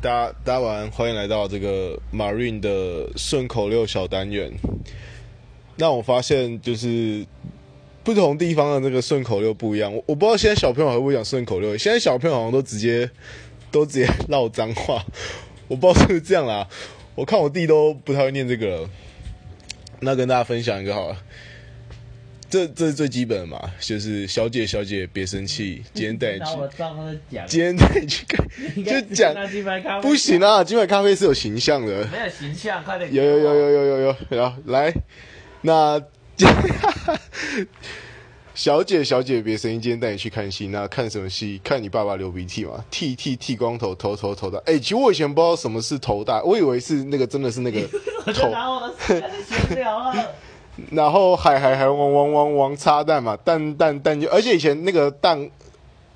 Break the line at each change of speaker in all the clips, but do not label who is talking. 大家大家晚安，欢迎来到这个 Marine 的顺口溜小单元。那我发现就是不同地方的那个顺口溜不一样，我我不知道现在小朋友还会不会讲顺口溜，现在小朋友好像都直接 都直接唠脏话，我不知道是不是这样啦。我看我弟都不太会念这个了，那跟大家分享一个好了。这这是最基本的嘛，就是小姐小姐别生 气，今天带你去
拿我账号在讲，
今天带你去看，
你
就
看
讲
拿鸡排咖啡
不行啊，金牌咖啡是有形象的。
没有形象，快点给
有
我
有有有有有有，然后来，那小姐小姐别生气，今天带你去看戏，那看什么戏？看你爸爸流鼻涕嘛，剃剃剃光头，头头头大。哎、其实我以前不知道什么是头大，我以为是那个真的是那个
我就
头。
拿我的闲聊了，
然后海海海王王王王插蛋嘛，蛋蛋蛋就，而且以前那个蛋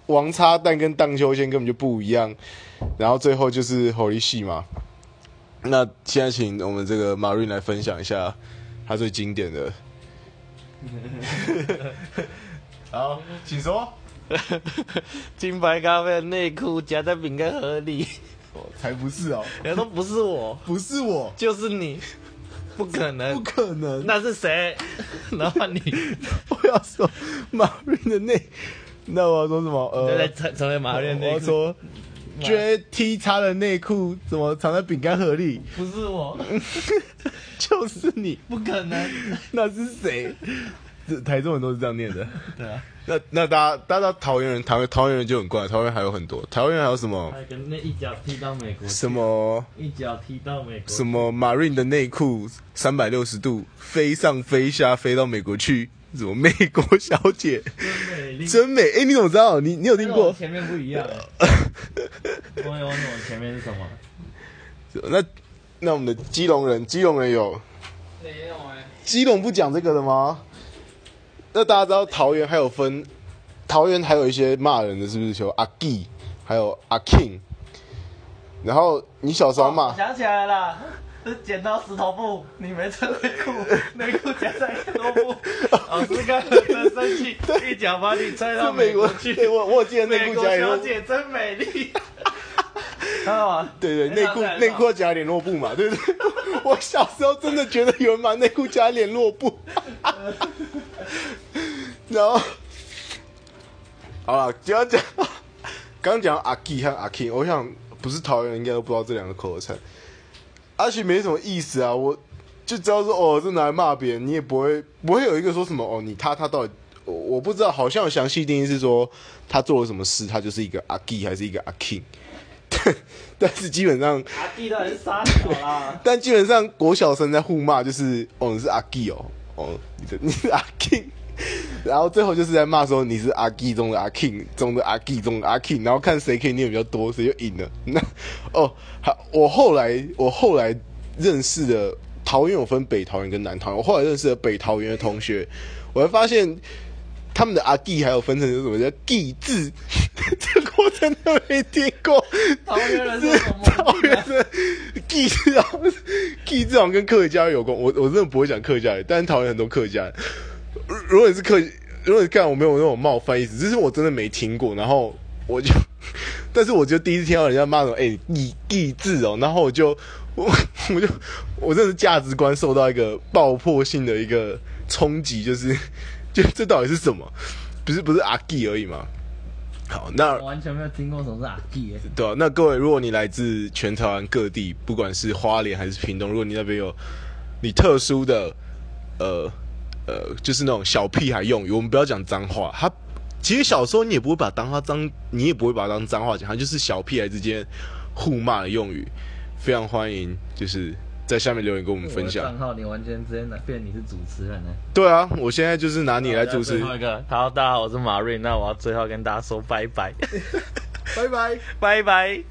王插蛋跟荡秋千根本就不一样。然后最后就是猴力戏嘛。那现在请我们这个马瑞来分享一下他最经典的。好，请说。
金牌咖啡的内裤夹在饼干盒里，
才不是哦，
人家都不是我，
不是我，
就是你，不可能，
可能
那是谁？ 然后你
我要说马瑞的内，那我要说什么？
就
呃
在，成成为马瑞的
我
内
要
裤，
说 JT 叉的内裤怎么藏在饼干盒里？
不是我，
就是你，
不可能。
那是谁？这台中人都是这样念的。
对啊，
那那大家大家桃园人，桃园桃园人就很怪，桃园还有很多，桃园还有什么
快跟那一脚踢到美国，
什么
一脚踢到美国，
什么 Marine 的内裤三百六十度飞上飞下飞到美国去，什么美国小 姐
真美丽。
真美？哎、你怎么知道？你你有听
跟我
过？
前面不一样，欸 我也忘了我前面是什么。
那那我们的基隆人，基隆人有
没有哎，
基隆不讲这个的吗？那大家知道桃园还有分，桃园还有一些骂人的，是不是？有阿 G，还有阿 King。然后你小时候
哦
骂
我，想起来了，是剪刀石头布，你没穿内 裤，内裤夹在石头布，老师刚很生气，一脚把你踹到
是 美
美
国
国，去。
对我我有记得内
美
裤
国
夹
小
联络，
姐真美 丽。啊，
对对，内裤
很好
内裤夹联络布嘛，对不 对？我小时候真的觉得有人把内裤夹联络布，然后好了，只要讲刚讲阿 G 和阿 King，我想不是桃园人应该都不知道这两个口头禅，而且没什么意思啊，我就知道说哦，这拿来骂别人，你也不会不会有一个说什么哦，你他他到底。我我不知道，好像有详细定义是说他做了什么事，他就是一个阿 G 还是一个阿 King，但 是基本上，
阿弟都很傻小啦。
但基本上国小生在互骂，就是哦你是阿 G 哦，哦你的 你是阿 King，然后最后就是在骂说你是阿 G 中的阿 King 中的阿 G 中的阿 King，然后看谁可以念比较多，谁就赢了。 那哦，还我后来我后来认识的桃园有分北桃园跟南桃园，我后来认识的北桃园的同学，我才发现。他们的阿 G 还有分成是什么叫 G 字， 这个我真的没听过。
桃园人是
是
什么？
桃园的 G 字好像是 G 字好像跟客家有关。我我真的不会讲客家语，但是桃园很多客家人。如如果你是客，如果你干我没有那种冒犯意思，只是我真的没听过。然后我就， 但是我就第一次听到人家骂什么哎 G G 字哦，然后我就 我我就我真的是价值观受到一个爆破性的一个冲击，就是就这到底是什么？不是不是阿 G 而已嘛？好，那
我完全没有听过什么是阿弟耶。
对啊，那各位，如果你来自全台湾各地，不管是花莲还是屏东，如果你那边有你特殊的，呃呃，就是那种小屁孩用语，我们不要讲脏话。他其实小时候你也不会把它当他脏，你也不会把它当脏话讲，它就是小屁孩之间互骂的用语。非常欢迎，就是在下面留言跟我们分
我的
享
账。号你完全直接拿变你是主持人了。
对啊，我现在就是拿你来主持
啊
最，后一个，好，大家好，我是马瑞，那我要最后跟大家说拜拜，
拜拜。
拜拜。